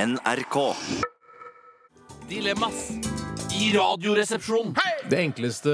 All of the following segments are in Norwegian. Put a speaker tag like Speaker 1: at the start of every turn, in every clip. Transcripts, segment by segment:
Speaker 1: NRK.
Speaker 2: Dilemmas i Radioresepsjonen.
Speaker 3: Det enkleste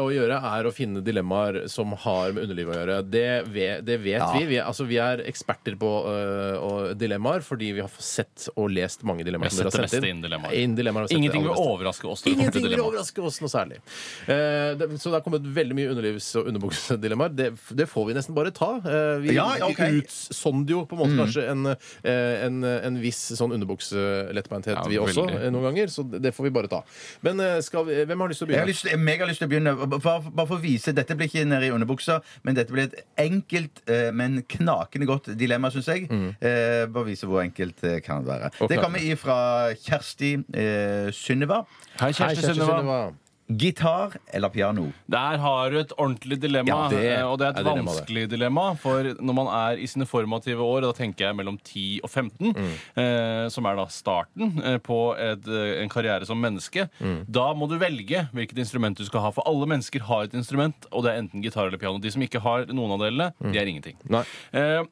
Speaker 3: å gjøre er å finne dilemmaer som har med underlivet å gjøre. Det vet, det vet vi. Vi er, altså, vi er eksperter på øh, og dilemmaer fordi vi har sett og lest mange dilemmaer.
Speaker 2: Vi har
Speaker 3: som dere
Speaker 2: sett det meste
Speaker 3: sendt inn.
Speaker 2: innen dilemmaer.
Speaker 3: Innen dilemmaer har vi sett
Speaker 2: Ingenting
Speaker 3: det
Speaker 2: vil
Speaker 3: aller meste.
Speaker 2: overraske oss. når det kommer til
Speaker 3: Ingenting vil
Speaker 2: dilemma.
Speaker 3: overraske oss noe særlig. Eh, det, så det har kommet veldig mye underlivs- og underbuksedilemmaer. Det, det får vi nesten bare ta. Eh, vi
Speaker 4: Ja, ja, ok.
Speaker 3: utsonder jo på en måte
Speaker 2: Mm.
Speaker 3: kanskje en, eh, en, en viss sånn underbukselettbeinthet,
Speaker 2: Ja,
Speaker 3: vi også,
Speaker 2: veldig.
Speaker 3: eh, noen ganger. Så det det får vi bare ta. Men eh, skal vi, hvem har lyst til å
Speaker 4: Jeg har
Speaker 3: begynne?
Speaker 4: lyst, jeg har megalyst til å begynne. Bare, bare for å vise, Dette blir ikke nede i underbuksa, men dette blir et enkelt, eh, men knakende godt dilemma, syns jeg. Eh, Bare vise hvor enkelt det kan være.
Speaker 3: Og
Speaker 4: Det
Speaker 3: knakende.
Speaker 4: kommer ifra Kjersti eh, Synnøva.
Speaker 2: Hei,
Speaker 3: Hei,
Speaker 2: kjæreste Synnøva.
Speaker 4: Gitar eller piano?
Speaker 2: Der har du et ordentlig dilemma.
Speaker 3: Ja, det
Speaker 2: eh, og det er
Speaker 3: er
Speaker 2: et
Speaker 3: dilemma, det.
Speaker 2: vanskelig dilemma. For når man er i sine formative år, og da tenker jeg mellom 10 og 15, eh, som er da starten eh, på et, eh, en karriere som menneske, da må du velge hvilket instrument du skal ha. For alle mennesker har et instrument, og det er enten gitar eller piano. De som ikke har noen av delene, de er ingenting.
Speaker 3: Nei.
Speaker 2: Eh,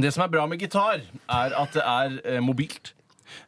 Speaker 2: det som er bra med gitar, er at det er eh, mobilt.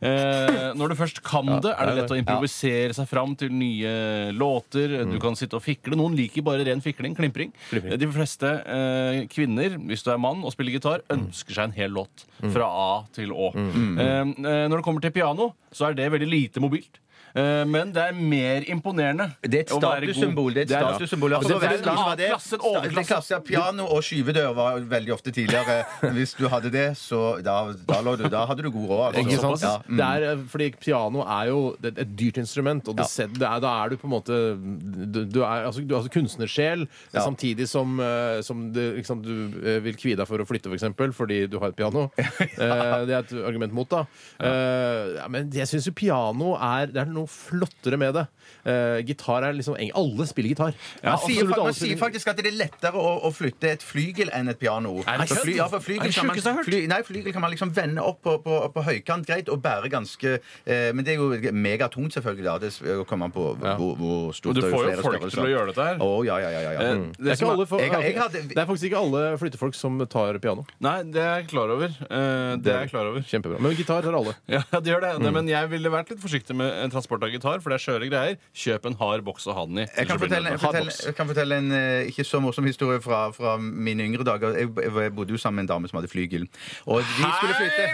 Speaker 2: Eh, når du først kan det, er det lett å improvisere seg fram til nye låter.
Speaker 4: Mm.
Speaker 2: Du kan sitte og fikle. Noen liker bare ren fikling. Klimpring.
Speaker 3: Klimpring.
Speaker 2: Eh, De fleste eh, kvinner, hvis du er mann og spiller gitar,
Speaker 4: Mm.
Speaker 2: ønsker seg en hel låt. Fra A til Å. Eh, eh, når det kommer til piano, så er det veldig lite mobilt. Eh, men det er mer imponerende.
Speaker 4: Det er et
Speaker 2: å være god.
Speaker 4: statussymbol. Det er et statussymbol.
Speaker 2: Altså, det er en A-klasse, en
Speaker 4: Det er
Speaker 2: overklasse.
Speaker 4: klasse, Piano og skyvedør var veldig ofte tidligere. Hvis du hadde det, så da, da, lå du, da hadde du god råd.
Speaker 3: Ikke sant?
Speaker 4: Ja. Mm.
Speaker 3: Det er, eh, fordi piano er jo det- et dyrt instrument, og det set- det er, da er du på en måte Du, du, er, altså, du er altså kunstnersjel,
Speaker 4: Ja.
Speaker 3: samtidig som, eh, som det, ikke sant, du eh, vil kvie deg for å flytte, f.eks., for eksempel, fordi du har et piano. Eh, Det er et argument mot, da. Eh, ja, men jeg syns jo piano er Det er noe flottere med det. Eh, Gitar er liksom eng- Alle spiller gitar.
Speaker 4: Man sier,
Speaker 3: Absolutt
Speaker 4: fa-
Speaker 3: alle
Speaker 4: man sier
Speaker 3: spiller
Speaker 4: faktisk at det er lettere å, å flytte et flygel enn et piano.
Speaker 2: det
Speaker 4: For
Speaker 2: sant?
Speaker 4: fly, ja, for flygel
Speaker 2: Er det
Speaker 4: kan man,
Speaker 2: sjukeste jeg har hørt?
Speaker 4: fly, nei, flygel kan man liksom vende opp på, på, på høykant greit og bære ganske eh, Men det er jo megatungt, selvfølgelig. Da. Det s- kommer an på hvor, hvor
Speaker 2: Og
Speaker 4: stort
Speaker 2: du
Speaker 4: det er,
Speaker 2: får jo
Speaker 4: flere
Speaker 2: folk
Speaker 4: størrelser.
Speaker 2: til
Speaker 4: Mm.
Speaker 2: å gjøre dette her.
Speaker 4: Å, ja, ja, ja, ja, ja.
Speaker 2: Eh,
Speaker 4: Mm.
Speaker 3: Det er,
Speaker 2: som
Speaker 3: ikke alle, for,
Speaker 4: jeg- jeg hadde-
Speaker 3: det er faktisk ikke alle flyttefolk som tar piano.
Speaker 2: Nei, det er jeg klar over. Eh, det er jeg klar over.
Speaker 3: Kjempebra. Men gitar tar alle.
Speaker 2: Ja, det gjør det. Nei, men jeg ville vært litt forsiktig med en transport av gitar, for det er skjøre greier. Kjøp en hard boks å ha den i.
Speaker 4: Jeg
Speaker 2: ellers
Speaker 4: kan
Speaker 2: så blir den
Speaker 4: fortelle,
Speaker 2: ødelagt.
Speaker 4: fortelle, jeg kan fortelle en eh, ikke så morsom historie fra, fra mine yngre dager. Jeg, jeg bodde jo sammen med en dame som hadde flygel. Og vi skulle flytte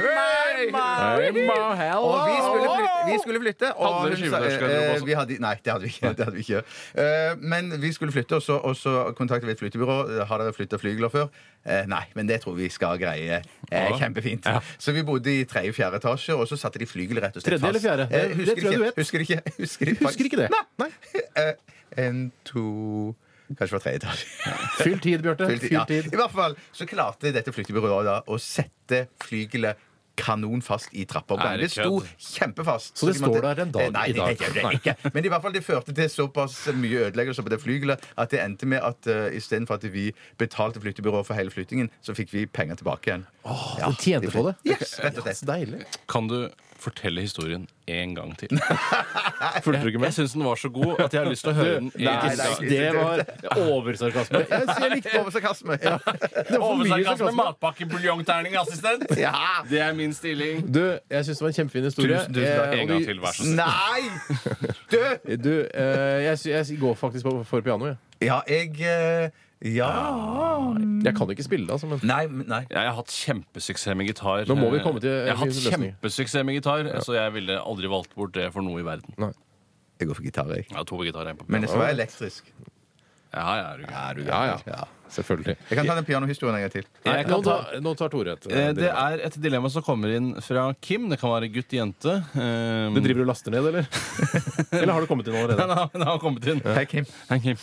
Speaker 4: Hei, Og vi skulle flytte, vi skulle flytte og
Speaker 2: Hadde dere
Speaker 4: hun sa-
Speaker 2: skyvedørsgarderobe
Speaker 4: eh,
Speaker 2: også?
Speaker 4: vi hadde, Nei, det hadde vi ikke. Det hadde vi ikke. Eh, men vi skulle flytte, og så, og så kontaktet vi et flyttebyrå. Har dere flytta flygler før? Eh, nei, men det tror vi skal greie. Eh, kjempefint. Så vi bodde i tredje-fjerde etasje, og så satte de flygel rett og slett fast.
Speaker 3: Tredje eller fjerde?
Speaker 4: Eh,
Speaker 3: Det-
Speaker 4: husker
Speaker 3: det tror jeg
Speaker 4: ikke,
Speaker 3: du vet.
Speaker 4: Husker ikke, husker, ikke,
Speaker 3: Husker ikke det?
Speaker 4: Nei. Eh, en, to Kanskje det var tredje etasje.
Speaker 3: Fyll tid, Bjarte.
Speaker 4: Fyll tid, ja. I hvert fall så klarte dette flyttebyrået da å sette flygelet kanonfast i
Speaker 2: Er
Speaker 4: trappoppgangen.
Speaker 2: det
Speaker 4: Det sto kjempefast.
Speaker 3: Så det
Speaker 4: de måtte-
Speaker 3: står der en dag
Speaker 4: Eh, Nei,
Speaker 3: i dag?
Speaker 4: det gjør det ikke. Men i hvert fall det førte til såpass mye ødeleggelser på det flygelet at det endte med at uh, istedenfor at vi betalte flyttebyrået for hele flyttingen, så fikk vi penger tilbake igjen. Oh,
Speaker 3: Du tjente på det?
Speaker 4: Yes, rett og slett.
Speaker 3: Så deilig.
Speaker 2: Kan du fortelle historien en gang til? Fulgte du ikke med? Jeg syns den var så god at jeg har lyst til å høre den.
Speaker 3: Nei,
Speaker 4: nei,
Speaker 3: det,
Speaker 4: nei.
Speaker 3: var oversarkasme. Jeg, jeg likte det.
Speaker 4: Oversarkasme. Ja.
Speaker 3: det var for mye
Speaker 2: Oversarkasme,
Speaker 3: sarkasme.
Speaker 2: matpakke-buljongterning-assistent.
Speaker 4: Ja.
Speaker 2: sånn Det er min stilling.
Speaker 3: Du, jeg syns det var en kjempefin historie.
Speaker 4: Tusen, tusen
Speaker 3: Eh,
Speaker 4: takk.
Speaker 3: og
Speaker 2: En gang
Speaker 3: vi-
Speaker 2: til, vær så snill.
Speaker 4: Nei! Du!
Speaker 3: Du, eh, jeg, sy- jeg går faktisk på, for piano, jeg.
Speaker 4: Ja, jeg eh, Ja
Speaker 3: Jeg kan ikke spille, altså, men
Speaker 4: Nei, men- nei.
Speaker 2: Jeg har hatt kjempesuksess med gitar.
Speaker 3: Nå må vi komme til
Speaker 2: Jeg har hatt
Speaker 3: løsninger.
Speaker 2: kjempesuksess med gitar, så jeg ville aldri valgt bort det for noe i verden.
Speaker 4: Jeg går for gitar, jeg.
Speaker 2: Jeg har to gitarer en på
Speaker 4: Men det
Speaker 2: piano.
Speaker 4: skal være elektrisk.
Speaker 2: Ja, ja, er du gæren.
Speaker 3: Ja, ja. Selvfølgelig.
Speaker 4: Jeg kan ta den pianohistorien en gang til.
Speaker 3: Nei,
Speaker 2: Jeg kan
Speaker 3: nå,
Speaker 2: ta-
Speaker 3: ta, nå tar Tore et.
Speaker 2: Eh, Det
Speaker 3: Det
Speaker 2: er et dilemma som kommer inn fra Kim. Det kan være gutt, jente. Eh,
Speaker 3: driver du og laster ned, eller? Eller har du kommet inn allerede?
Speaker 2: Nei, Den har kommet inn.
Speaker 4: Hei, Kim.
Speaker 2: Hei, Kim.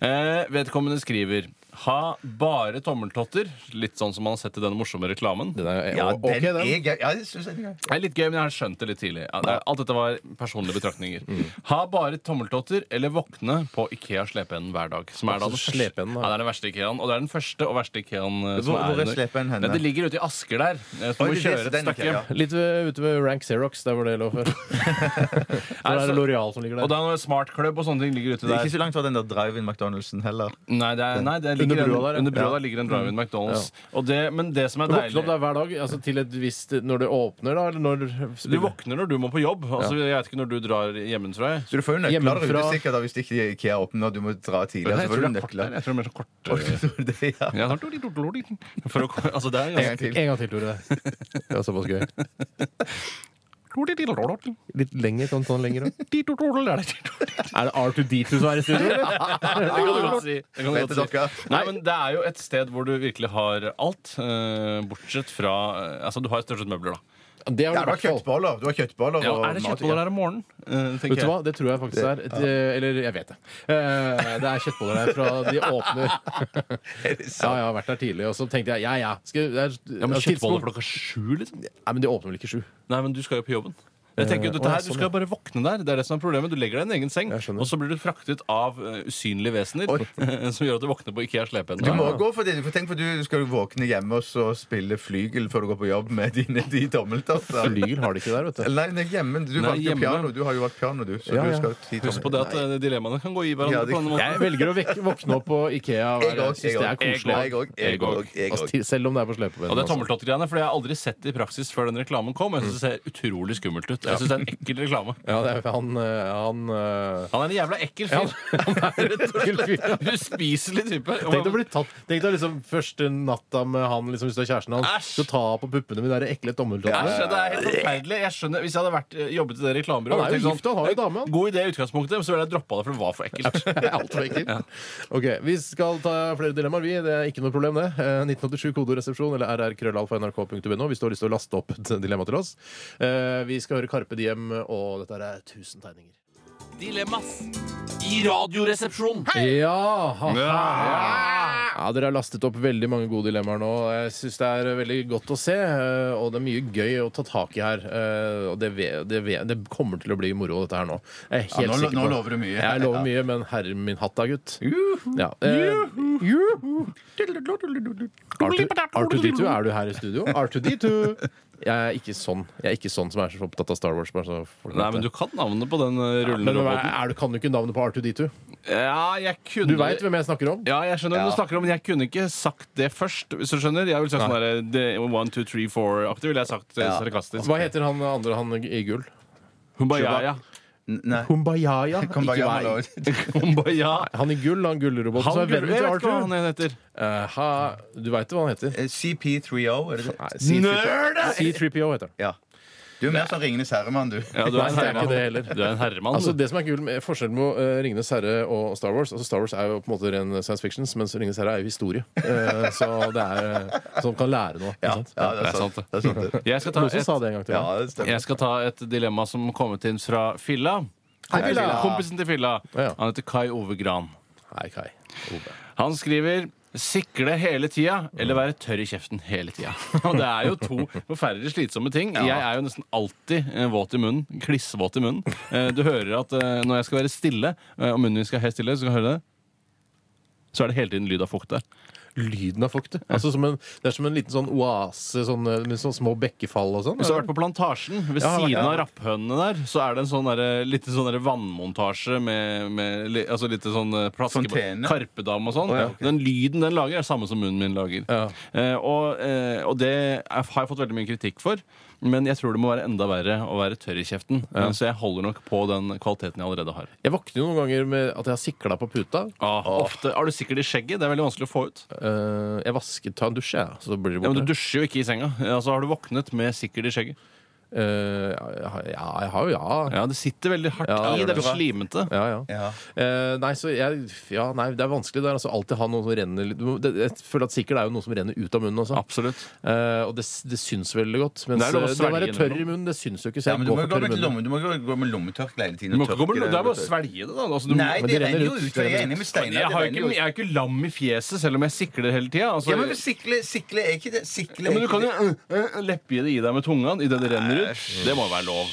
Speaker 2: Eh, vedkommende skriver Ha bare tommeltotter. Litt sånn som man har sett i den morsomme reklamen.
Speaker 3: Den er,
Speaker 4: Ja,
Speaker 3: ok,
Speaker 4: den
Speaker 3: den.
Speaker 4: er gøy. Ja, det synes jeg er gøy.
Speaker 2: Det er litt gøy, men jeg har skjønt det litt tidlig. Ja, det er- Alt dette var personlige betraktninger.
Speaker 4: Mm.
Speaker 2: Ha bare tommeltotter eller våkne på Ikea slepeenden hver dag. Som er da den,
Speaker 3: Altså,
Speaker 2: første-
Speaker 3: slepeenden, da.
Speaker 2: ja, det er den verste Ikeaen. Og det er den første og verste Ikeaen eh, som
Speaker 4: Hvor- hvor er
Speaker 2: under-
Speaker 4: slepeenden henne?
Speaker 2: Nei, Det ligger ute i Asker der. Eh, Så
Speaker 4: Oi,
Speaker 2: må vi
Speaker 4: det er
Speaker 2: kjøre et
Speaker 4: den
Speaker 2: stykke.
Speaker 4: Ikea, ja.
Speaker 3: Litt ved, ute ved Rank Xerox, der hvor det lå før. Der er det L'Oreal som ligger
Speaker 2: Og
Speaker 3: der.
Speaker 2: da er det Smart Club og sånne ting ligger ute
Speaker 4: Det er
Speaker 2: der.
Speaker 4: ikke så langt fra den der drive-in McDonald'sen heller.
Speaker 2: Nei, det er, nei, det er ligger
Speaker 3: Under brua
Speaker 2: en-
Speaker 3: der, ja.
Speaker 2: under brua der Mm. ligger en drive-in McDonald's. Og det, men det som er
Speaker 3: Du våkner opp
Speaker 2: deilig
Speaker 3: der hver dag altså til et visst Når det åpner, da? Eller når
Speaker 2: Du våkner når du må på jobb. Altså, Jeg vet ikke når du drar hjemmefra. jeg.
Speaker 4: Så du får jo nøkler der
Speaker 3: Hjemmefra-
Speaker 4: ute sikkert da, hvis ikke IKEA åpner og du må dra tidligere.
Speaker 2: Jeg
Speaker 4: så får
Speaker 2: tror
Speaker 4: du
Speaker 2: det er kort
Speaker 4: nøkler.
Speaker 2: der. Jeg tror det er mer sånn kort
Speaker 4: Det, ja.
Speaker 2: Ja, sånn tolitolitolitol. For å ko- Altså, det er
Speaker 4: En gang
Speaker 2: ganske
Speaker 4: til.
Speaker 3: En gang til, Tore. Det var såpass gøy.
Speaker 2: Tolitolitolitol.
Speaker 3: Litt lenger, sånn, sånn lenger òg.
Speaker 2: Titotol, er det titotol?
Speaker 3: Er det R2D2 som er i studio, eller? Det kan du godt si.
Speaker 2: Det kan du
Speaker 4: Vet
Speaker 2: godt si.
Speaker 4: dere?
Speaker 2: Nei, men Det er jo et sted hvor du virkelig har alt, eh, bortsett fra eh, Altså, du har stort sett møbler, da.
Speaker 3: Det har
Speaker 4: Ja,
Speaker 3: du i
Speaker 4: du har
Speaker 3: hvert fall.
Speaker 4: kjøttboller. Du har kjøttboller
Speaker 2: Ja,
Speaker 4: og
Speaker 2: er det
Speaker 4: mat-
Speaker 2: kjøttboller her om morgenen? Eh, tenker
Speaker 3: Vet du
Speaker 2: jeg.
Speaker 3: hva, det tror jeg faktisk er. Et, eh, Eller jeg vet det. Eh, Det er kjøttboller der fra de åpner.
Speaker 4: Er det
Speaker 3: Ja,
Speaker 4: sant?
Speaker 3: jeg har vært der tidlig, og så tenkte jeg ja, ja. Skal, det er,
Speaker 2: Ja, men
Speaker 3: altså, tidspunkt-
Speaker 2: Kjøttboller klokka sju, liksom?
Speaker 3: Nei, men de åpner vel ikke sju?
Speaker 2: Nei, men du skal jo på jobben. Jeg tenker jo,
Speaker 3: å,
Speaker 2: dette
Speaker 3: ja,
Speaker 2: her, Du
Speaker 3: sånn,
Speaker 2: skal jo bare våkne der. Det er det som er problemet. Du legger deg i en egen seng,
Speaker 3: Jeg skjønner.
Speaker 2: og så blir du fraktet av eh, usynlige vesener eh, som gjør at du våkner på Ikea
Speaker 4: Du
Speaker 2: slepehendene.
Speaker 4: må gå for det. Du får tenke på du, du skal jo våkne hjemme og så spille flygel før du går på jobb med dine de tommeltasser.
Speaker 3: Flygel har de ikke der, vet du.
Speaker 4: Nei, nei, hjemme. Du
Speaker 2: Nei,
Speaker 4: valgte jo
Speaker 2: hjemme.
Speaker 4: piano. Du har jo valgt piano, du. Så
Speaker 3: Ja,
Speaker 4: du
Speaker 3: ja.
Speaker 4: skal ti
Speaker 2: Husk på det at eh, dilemmaene kan gå i hverandre.
Speaker 4: Ja, det-
Speaker 2: på denne måten.
Speaker 3: Jeg velger å vekke, våkne opp på Ikea.
Speaker 4: Jeg
Speaker 3: Hver, jeg
Speaker 4: òg.
Speaker 3: synes det er koselig.
Speaker 4: Jeg òg. Jeg òg. jeg
Speaker 3: Altså,
Speaker 4: òg.
Speaker 3: til- selv om det er på
Speaker 2: Og
Speaker 3: altså. slepebenet.
Speaker 2: det er tommeltott-greiene, for det har jeg aldri sett det i praksis før den reklamen kom. og Jeg synes det ser utrolig skummelt ut. Jeg synes det er en ekkel reklame.
Speaker 3: Ja, det er han, eh, han eh,
Speaker 2: Han er en jævla ekkel
Speaker 3: Ja,
Speaker 2: fyr.
Speaker 3: han er en ekkel fyr.
Speaker 2: Uspiselig type.
Speaker 3: Tenk deg å bli tatt Tenk deg liksom første natta med han liksom, hvis du er kjæresten hans.
Speaker 2: Æsj!
Speaker 3: Så ta på puppene med de der ekle tommeltottene.
Speaker 2: Æsj, det er helt forferdelig. Jeg skjønner, Hvis jeg hadde vært, eh, jobbet i det reklamebyrået
Speaker 3: Han er jo
Speaker 2: tenkt sånn,
Speaker 3: gift, han har jo dame, han.
Speaker 2: God idé i utgangspunktet, men så ville jeg droppa det, for det var for ekkelt.
Speaker 3: Det er altfor ekkelt. Ok, Vi skal ta flere dilemmaer, vi. Det er ikke noe problem, det. Eh, 1987 kodoresepsjon eller rrkrøllalfa.nrk.no hvis du har lyst til å laste opp et dilemma til oss. Eh, Vi skal høre Karpe Diem, og dette er 1000 tegninger.
Speaker 2: Dilemmas i Radioresepsjonen.
Speaker 3: Ja! haha. Ja, Dere har lastet opp veldig mange gode dilemmaer nå. Jeg syns det er veldig godt å se, eh, og det er mye gøy å ta tak i her. eh, Og det, ve- det, ve- det kommer til å bli moro, dette her nå. Jeg er helt
Speaker 4: nå lo-
Speaker 3: sikker på
Speaker 4: nå
Speaker 3: det.
Speaker 4: lover du mye.
Speaker 3: Jeg lover mye, men herre min hatt da, gutt. Ja, eh, R2- R2D2, er du her i studio? R2D2! Jeg er ikke sånn Jeg er ikke sånn som er så opptatt av Star Wars. Bare så folk
Speaker 2: Nei,
Speaker 3: vet
Speaker 2: men du
Speaker 3: det.
Speaker 2: kan navnet på den eh, rullende
Speaker 3: men, hva
Speaker 2: roboten.
Speaker 3: er, du- kan du ikke navnet på R2D2?
Speaker 2: Ja, jeg kunne
Speaker 3: Du veit hvem jeg snakker om?
Speaker 2: Ja, jeg skjønner hva
Speaker 4: Ja.
Speaker 2: du snakker om, men jeg kunne ikke sagt det først. Hvis du skjønner Jeg ville sagt sånn der, det- one, two, three, four-aktig. Ville jeg sagt eh,
Speaker 4: Ja.
Speaker 2: sarkastisk.
Speaker 3: Hva heter han andre han i gull?
Speaker 2: Humbayaya.
Speaker 4: Nei.
Speaker 3: Kumbaya.
Speaker 4: Kom
Speaker 3: ikke
Speaker 4: bare, ja,
Speaker 3: vei.
Speaker 4: lov.
Speaker 2: Humbayaya.
Speaker 3: Han i gull, han gullroboten
Speaker 2: Han
Speaker 3: som er
Speaker 2: gull- jeg
Speaker 3: vennen
Speaker 2: vet
Speaker 3: til
Speaker 2: ikke hva
Speaker 3: Arthur.
Speaker 2: han heter.
Speaker 3: Eh, ha, du veit hva han heter?
Speaker 4: Eh, CP30, er det det?
Speaker 2: Nerd!
Speaker 3: C3PO heter han.
Speaker 4: Ja. Du er mer sånn Ringenes herremann, du.
Speaker 2: Ja, du er en
Speaker 3: Nei, det er ikke
Speaker 2: herremann.
Speaker 3: det heller.
Speaker 2: Du er en herremann.
Speaker 3: Altså
Speaker 2: du.
Speaker 3: det som er kul med Forskjellen med uh, 'Ringenes herre' og Star Wars altså Star Wars er jo på en måte ren science fiction, mens 'Ringenes herre' er jo historie. Eh, så det er eh, Som kan lære noe. ikke sant?
Speaker 4: Ja, det
Speaker 2: Det
Speaker 4: er
Speaker 2: er
Speaker 4: sant.
Speaker 2: sant,
Speaker 4: Det er sant, det.
Speaker 2: Jeg skal, ta
Speaker 3: Noen som
Speaker 2: et,
Speaker 3: sa det en gang til.
Speaker 4: Ja,
Speaker 3: meg.
Speaker 4: det stemmer.
Speaker 2: jeg skal ta et dilemma som kommet inn fra Filla.
Speaker 3: Hei, Filla.
Speaker 2: Kompisen til Filla.
Speaker 3: Ja.
Speaker 2: Han heter Kai Ove Gran.
Speaker 3: Hei, Kai. Ove.
Speaker 2: Han skriver Sikle hele tida, eller være tørr i kjeften hele tida. Og det er jo to forferdelig slitsomme ting. Jeg er jo nesten alltid eh, våt i munnen. Klissvåt i munnen. Eh, Du hører at eh, når jeg skal være stille, eh, og munnen min skal være helt stille, så kan jeg høre det. Så er det hele tiden lyd av fukt der.
Speaker 3: Lyden av fuktet. Altså, som en, det er som en liten sånn oase sånn, eh, med sånne små bekkefall og sånn.
Speaker 2: Hvis du har vært på Plantasjen, ved
Speaker 3: Ja, jeg har vært
Speaker 2: siden av
Speaker 3: der.
Speaker 2: rapphønene der, så er det en sånn derre- lite sånn derre vannmontasje med, med li- altså litt sånn eh, plaske
Speaker 4: Fontene.
Speaker 2: Karpedam og sånn. Den lyden den lager, er samme som munnen min lager.
Speaker 3: Ja.
Speaker 2: Eh, og, eh, og det er, har jeg fått veldig mye kritikk for, men jeg tror det må være enda verre å være tørr i kjeften. Eh, Så jeg holder nok på den kvaliteten jeg allerede har.
Speaker 3: Jeg våkner jo noen ganger med at jeg har sikla på puta.
Speaker 2: Ofte er du sikkert i skjegget. Det er veldig vanskelig å få ut.
Speaker 3: Eh, jeg vasker, tar en dusj, jeg, ja, så blir det
Speaker 2: Ja, men
Speaker 3: borte.
Speaker 2: Du dusjer jo ikke i senga. Eh, Altså, har du våknet med sikkert i skjegget?
Speaker 3: Eh, ja, ja, jeg har jo ja.
Speaker 2: Ja, Det sitter veldig hardt
Speaker 3: Ja,
Speaker 2: i.
Speaker 3: det
Speaker 2: Det
Speaker 3: gjør
Speaker 2: er så slimete.
Speaker 3: Ja, ja.
Speaker 4: Ja.
Speaker 3: Eh, nei, så jeg, ja, nei, det er vanskelig. Det er altså alltid ha noe som renner litt- du må- det, Jeg føler at sikkert det er jo noe som renner ut av munnen også.
Speaker 2: Absolutt.
Speaker 3: Eh, og det, det syns veldig godt. Mens
Speaker 2: Det er lov å
Speaker 3: eh, det å være
Speaker 2: svelge
Speaker 3: tørr i munnen, det syns jo ikke. Så
Speaker 4: Ja,
Speaker 3: jeg
Speaker 4: men du
Speaker 3: går
Speaker 4: må
Speaker 3: for
Speaker 4: gå
Speaker 3: tørr i
Speaker 4: med,
Speaker 3: munnen.
Speaker 4: lomme, du må gå gå med lommetørkle hele
Speaker 2: Du
Speaker 4: tiden. og
Speaker 2: må ikke gå med,
Speaker 4: tørke
Speaker 2: det er bare å
Speaker 4: vet du.
Speaker 2: svelge det, da. Altså, du,
Speaker 4: Nei,
Speaker 3: Men det
Speaker 4: det
Speaker 3: renner
Speaker 4: renner jo
Speaker 3: ut, det
Speaker 4: ut. Jeg er
Speaker 3: renner
Speaker 4: enig med
Speaker 2: jeg,
Speaker 4: Steinar. det
Speaker 2: har jo
Speaker 4: renner
Speaker 2: ikke, jeg er jo ikke lam i fjeset, selv om jeg sikler hele tida. Altså,
Speaker 4: Ja, men sikle, sikle er ikke det. Sikle
Speaker 2: ja, men du
Speaker 4: er ikke
Speaker 2: kan jo øh, øh, leppgi det i deg med tunga idet det renner ut. Det må være lov.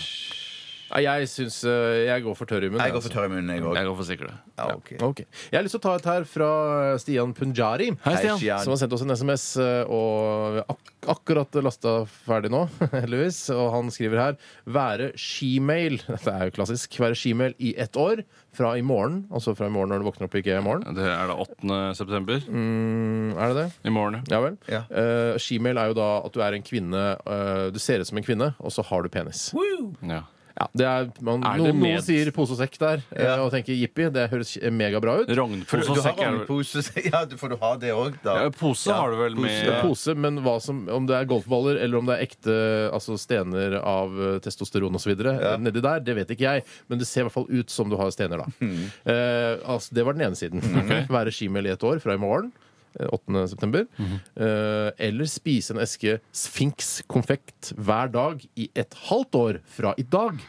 Speaker 3: Nei, Jeg syns eh, jeg går for tørr i munnen. altså.
Speaker 4: Jeg går for tørr i munnen, jeg òg.
Speaker 2: Jeg går for sikkerhet.
Speaker 4: Ja, ok.
Speaker 3: Ok. Jeg har lyst til å ta et her fra Stian Punjari.
Speaker 2: Hei, Stian.
Speaker 4: Stian.
Speaker 3: Som har sendt oss en SMS eh, og ak akkurat lasta ferdig nå, heldigvis. Og han skriver her 'være shemail'. Dette er jo klassisk. Være shemail i ett år fra i morgen. Altså fra i morgen når du våkner opp i IKEA i morgen.
Speaker 2: Det er da 8. september
Speaker 3: Mm, er det det?
Speaker 2: i morgen.
Speaker 3: Ja vel.
Speaker 4: Ja.
Speaker 3: Eh, shemale er jo da at du er en kvinne eh, Du ser ut som en kvinne, og så har du penis.
Speaker 2: Ja.
Speaker 3: Ja, det er, man,
Speaker 2: Er det
Speaker 3: noen,
Speaker 2: med-
Speaker 3: noen sier pose og sekk der eh, og tenker jippi, det høres megabra ut.
Speaker 4: For
Speaker 2: Rognpose
Speaker 4: du
Speaker 2: og
Speaker 4: har
Speaker 2: sekk er vel
Speaker 4: rognpose, ja, du- for du har det òg, da.
Speaker 2: ja, Pose har du vel med
Speaker 3: Det er Pose, men hva som, om det er golfballer eller om det er ekte altså stener av eh, testosteron osv. Ja. eh, nedi der, det vet ikke jeg, men det ser i hvert fall ut som du har stener da. Eh, altså, det var den ene siden. Være skimel i et år fra i morgen. eh, 8. september. Eh, eller spise en eske Sphinx konfekt hver dag i et halvt år fra i dag.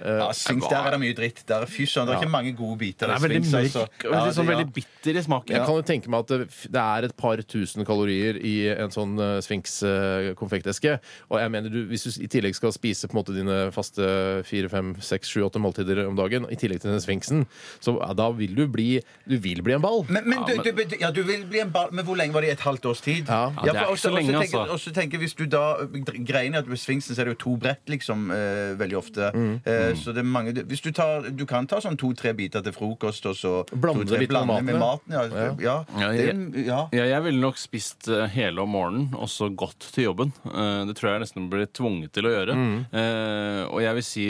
Speaker 4: Ja, Sphinx, der er det mye dritt. Der er fy søren, det er ikke mange gode biter.
Speaker 2: Den
Speaker 4: av
Speaker 2: er veldig
Speaker 4: Sphinx,
Speaker 2: mørk
Speaker 4: altså.
Speaker 2: og
Speaker 4: Ja,
Speaker 2: liksom
Speaker 4: det- ja.
Speaker 2: veldig bitter i smaken.
Speaker 3: Jeg kan jo tenke meg at det, f- det er et par tusen kalorier i en sånn eh, Sphinx eh, konfekteske. Og jeg mener du, hvis du s- i tillegg skal spise på en måte dine faste fire, fem, seks, sju, åtte måltider om dagen, i tillegg til den Sphinxen, så ja, da vil du bli Du vil bli en ball.
Speaker 4: Men, men, du, du, du, ja, du vil bli en ball, men hvor lenge var det? I Et halvt års tid?
Speaker 3: Ja,
Speaker 4: for
Speaker 2: det er ikke så
Speaker 4: også-
Speaker 2: lenge,
Speaker 4: også tenker-
Speaker 2: altså.
Speaker 4: også tenker Hvis du da greiene at ved Sphinxen så er det jo to brett, liksom, eh, veldig ofte.
Speaker 3: Mm,
Speaker 4: Eh, så det er mange Hvis du tar Du kan ta sånn to-tre biter til frokost, og så
Speaker 3: Blande
Speaker 4: to-tre
Speaker 3: litt med
Speaker 4: blande med
Speaker 3: maten,
Speaker 4: maten. Ja, ja.
Speaker 2: Ja,
Speaker 4: det er- ja.
Speaker 2: Ja, jeg ville nok spist eh, hele om morgenen og så gått til jobben. Eh, Det tror jeg nesten blir tvunget til å gjøre.
Speaker 3: Mm.
Speaker 2: Eh, og jeg vil si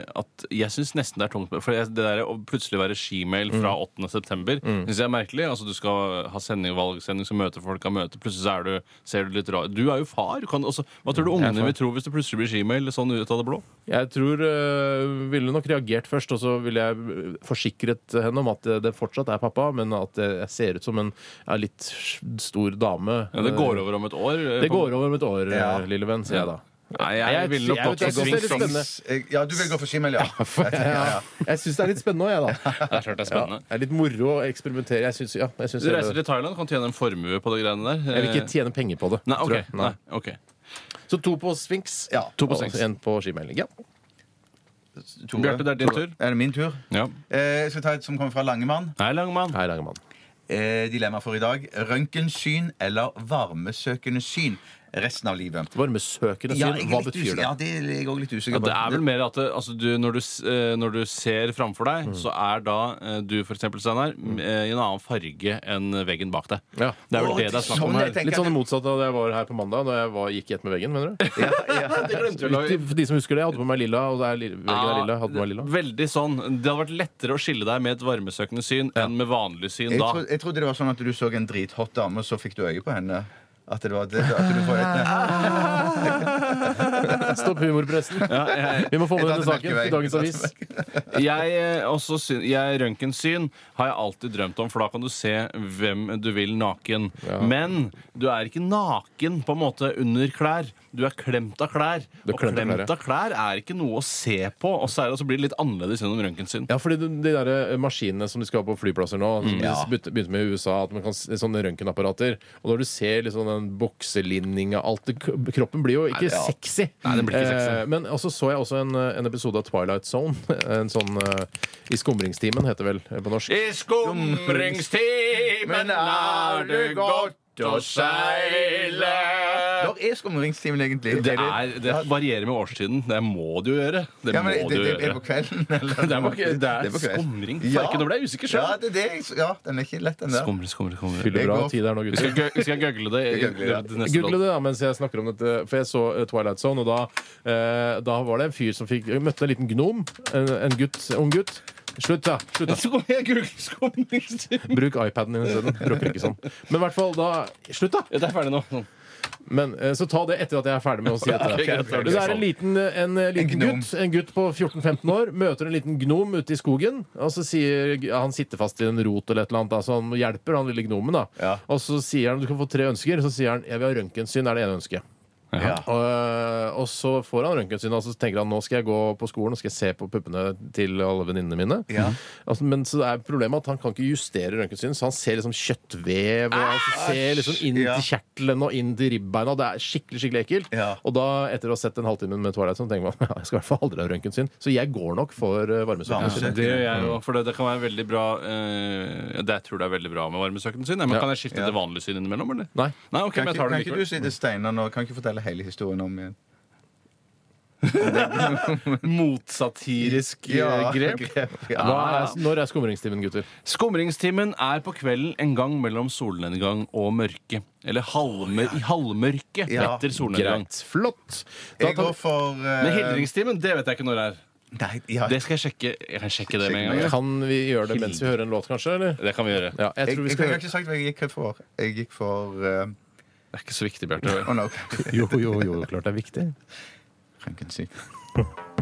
Speaker 2: at jeg syns nesten det er tungt. For jeg- det der å plutselig være skimail fra
Speaker 3: Mm.
Speaker 2: 8. september syns jeg er merkelig. Altså Du skal ha sending, valgsending, så møter folk av møte. Plutselig så er du, ser du litt rar Du er jo far. Du kan, også, hva tror du
Speaker 3: Mm, jeg er
Speaker 2: ungene
Speaker 3: far.
Speaker 2: vil tro hvis det plutselig blir skimail sånn ut av det blå?
Speaker 3: Jeg tror uh, ville nok reagert først, og så ville jeg eh, forsikret henne om at eh, det fortsatt er pappa, men at eh, jeg ser ut som en ja, litt s- stor dame.
Speaker 2: Ja, det går over om et år. eh,
Speaker 3: Det
Speaker 2: på-
Speaker 3: går over om et år,
Speaker 4: Ja.
Speaker 3: eh, lille venn, sier jeg da.
Speaker 2: Nei, jeg,
Speaker 3: Jeg-
Speaker 2: ville nok
Speaker 3: jeg
Speaker 2: gått
Speaker 3: vet-
Speaker 2: for
Speaker 3: jeg synes det er
Speaker 2: swing
Speaker 3: litt
Speaker 2: som
Speaker 3: spennende.
Speaker 4: Eh, ja, du vil gå for skimmel, ja.
Speaker 3: Ja. Jeg syns det er litt spennende òg, jeg, da.
Speaker 2: Det er klart det er
Speaker 3: Ja,
Speaker 2: spennende.
Speaker 3: det er litt moro å eksperimentere. Jeg, synes, ja, jeg, synes
Speaker 2: Du reiser
Speaker 3: jeg,
Speaker 2: til Thailand, kan tjene en formue på de greiene der.
Speaker 3: jeg vil
Speaker 2: Eh,
Speaker 3: ikke tjene penger på det.
Speaker 2: Nei,
Speaker 3: tror
Speaker 2: ok.
Speaker 3: jeg. Nei.
Speaker 2: Nei, ok.
Speaker 3: Så to på Sphinx.
Speaker 4: Ja,
Speaker 2: to på
Speaker 3: og
Speaker 2: Sphinx.
Speaker 3: En på skimelding. Ja.
Speaker 4: Tore?
Speaker 2: Bjarte, det er din
Speaker 4: Tore.
Speaker 2: tur.
Speaker 4: Er det min tur?
Speaker 2: Ja.
Speaker 4: Eh, jeg skal ta et som kommer fra Langemann.
Speaker 2: Hei, Langemann.
Speaker 3: Hei, Langemann.
Speaker 4: Eh, dilemma for i dag. Røntgensyn eller varmesøkende syn resten av livet?
Speaker 3: Varmesøkende
Speaker 4: Ja,
Speaker 3: syn.
Speaker 4: jeg er
Speaker 3: Hva
Speaker 4: litt
Speaker 3: betyr
Speaker 4: usikker-
Speaker 3: det?
Speaker 4: Ja, det er jeg òg litt usikker
Speaker 2: Ja,
Speaker 4: på.
Speaker 2: det er vel mer at det, altså du, når, du, s- eh, når du ser framfor deg,
Speaker 3: Mm.
Speaker 2: så er da eh, du for eksempel, Steinar, m- eh, i en annen farge enn veggen bak deg.
Speaker 3: Ja.
Speaker 2: Det er vel
Speaker 4: Å,
Speaker 2: det det er snakk om
Speaker 4: sånn
Speaker 2: her.
Speaker 4: jeg tenker
Speaker 3: Litt sånn det
Speaker 4: at-
Speaker 3: motsatte av det jeg var her på mandag, Når jeg var, gikk i ett med veggen. mener du?
Speaker 4: Ja, ja.
Speaker 3: De, for de som husker det, jeg hadde på meg lilla, og det er, lilla- veggen er lilla. Hadde på meg
Speaker 2: Ja,
Speaker 3: lilla.
Speaker 2: veldig sånn. Det hadde vært lettere å skille deg med et varmesøkende syn enn med vanlig syn
Speaker 4: Jeg,
Speaker 2: da.
Speaker 4: tro, jeg trodde det var sånn at du så en drithot dame, og så fikk du øye på henne. At det var det, at du får et,
Speaker 3: Stopp humorpressen.
Speaker 2: Ja, jeg,
Speaker 3: Vi må få med
Speaker 4: Jeg
Speaker 3: denne
Speaker 4: tar tilbake
Speaker 3: saken i dagens
Speaker 4: veggen.
Speaker 3: avis.
Speaker 2: jeg, eh, også syn, jeg Røntgensyn har jeg alltid drømt om, for da kan du se hvem du vil naken. Men du er ikke naken på en måte under klær. Du er klemt av klær.
Speaker 3: Du er
Speaker 2: Og
Speaker 3: klemt av klær,
Speaker 2: klemt av klær er ikke noe å se på. Og så er det, og så blir det litt annerledes gjennom røntgensyn.
Speaker 3: Ja, fordi de, de der eh, maskinene som de skal ha på flyplasser nå, som de
Speaker 4: Ja.
Speaker 3: begynte begynte med i USA, at man kan se sånne røntgenapparater Og når du ser liksom den bokselinninga alt det, Kroppen blir jo ikke
Speaker 4: ja.
Speaker 3: sexy.
Speaker 2: Nei, den blir ikke sexy.
Speaker 3: Eh, men også så jeg også en, eh, en episode av Twilight Zone. En sånn eh, I skumringstimen, heter det vel eh, på norsk.
Speaker 2: I skumringstimen
Speaker 4: er det godt
Speaker 2: å seile.
Speaker 4: Når er skumringstimen egentlig?
Speaker 2: Det, er, det varierer med årstiden. Det må du gjøre. Det
Speaker 4: ja, men,
Speaker 2: må
Speaker 4: det,
Speaker 2: du
Speaker 4: det, er
Speaker 2: gjøre.
Speaker 4: på kvelden? Eller?
Speaker 2: Det er på- det er
Speaker 4: på kvelden.
Speaker 2: skumring. Farken, nå ble jeg usikker selv.
Speaker 4: Ja, det er det, jeg- ja, den er ikke lett, den der.
Speaker 2: Skumre, skumre, skumre.
Speaker 3: Fyller bra
Speaker 4: Jeg går-
Speaker 3: tid her nå,
Speaker 2: Vi
Speaker 3: gutter.
Speaker 2: skal, gø- vi skal gøgle det i
Speaker 4: gøgler, ja.
Speaker 2: løpet av neste
Speaker 3: Google det da, mens jeg snakker om dette, for jeg så eh, Twilight Zone, og da, eh, da var det en fyr som fikk møtte en liten gnom. En, en gutt, en ung gutt. Slutt, da! Slutt, da.
Speaker 2: Så kommer jeg Google skumringstimen.
Speaker 3: Bruk iPaden din isteden. Bråker ikke sånn. Men i hvert fall da Slutt, da!
Speaker 2: Ja, det er ferdig nå. Sånn.
Speaker 3: Men, eh, så ta det etter at jeg er ferdig med å si dette.
Speaker 2: ok, greit,
Speaker 3: Men
Speaker 2: ok.
Speaker 3: det er en liten, eh, en, eh, liten
Speaker 4: gnom.
Speaker 3: gutt En gutt på 14-15 år møter en liten gnom ute i skogen. Og så sier ja, Han sitter fast i en rot eller et eller annet, da, så han hjelper han lille gnomen. da
Speaker 4: Ja.
Speaker 3: Og så sier han du kan få tre ønsker. Så sier han jeg vil ha røntgensyn, er det ene ønsket.
Speaker 4: Ja.
Speaker 3: Og, og så får han røntgensynet, og så tenker han nå skal jeg gå på skolen og skal jeg se på puppene til alle venninnene mine.
Speaker 4: Ja.
Speaker 3: Altså, men så er problemet at han kan ikke justere røntgensynet, så han ser liksom kjøttvev og han ser liksom inn
Speaker 4: Ja.
Speaker 3: til kjertelen og inn til ribbeina, og det er skikkelig skikkelig ekkelt.
Speaker 4: Ja.
Speaker 3: Og da, etter å ha sett en halvtime med Twilight, så tenker man ja, jeg skal i hvert fall aldri ha røntgensyn, så jeg går nok for eh, varmesøkende
Speaker 4: Varmesøkende.
Speaker 3: syn.
Speaker 2: Det gjør jeg jo, for det, det kan være veldig bra eh, Det tror jeg det er veldig bra med varmesøkende syn. ja, Men
Speaker 3: Ja.
Speaker 2: Kan jeg skifte til vanlig syn innimellom, eller?
Speaker 3: Nei.
Speaker 2: Nei, ok,
Speaker 4: Kan
Speaker 2: men jeg
Speaker 4: ikke,
Speaker 2: tar
Speaker 4: kan
Speaker 2: det
Speaker 4: ikke du
Speaker 2: likevel.
Speaker 4: si til Steinar nå Kan ikke fortelle hele historien om igjen?
Speaker 2: Motsatirisk eh, grep.
Speaker 4: Ja.
Speaker 3: Hva er, når er skumringstimen, gutter?
Speaker 2: Skumringstimen er på kvelden en gang mellom solnedgang og mørke. Eller halme, i halvmørke
Speaker 4: Ja.
Speaker 2: etter solnedgang.
Speaker 3: Greit. Flott. Da tar
Speaker 4: Jeg går
Speaker 3: vi
Speaker 4: for eh,
Speaker 2: Men hildringstimen, det vet jeg ikke når det er.
Speaker 4: Nei, ja.
Speaker 2: Det skal jeg sjekke. Jeg kan sjekke det med en gang.
Speaker 3: kan vi gjøre det mens vi hører en låt, kanskje? Eller?
Speaker 2: Det kan vi gjøre.
Speaker 3: Ja, jeg
Speaker 4: Jeg,
Speaker 3: tror vi
Speaker 4: jeg,
Speaker 3: skal
Speaker 4: har ikke sagt hva jeg gikk for. Jeg gikk for eh,
Speaker 2: Det er ikke så viktig, Bjarte.
Speaker 4: Å, no.
Speaker 3: Jo, jo, jo, klart det er viktig.
Speaker 4: Røntgensyn.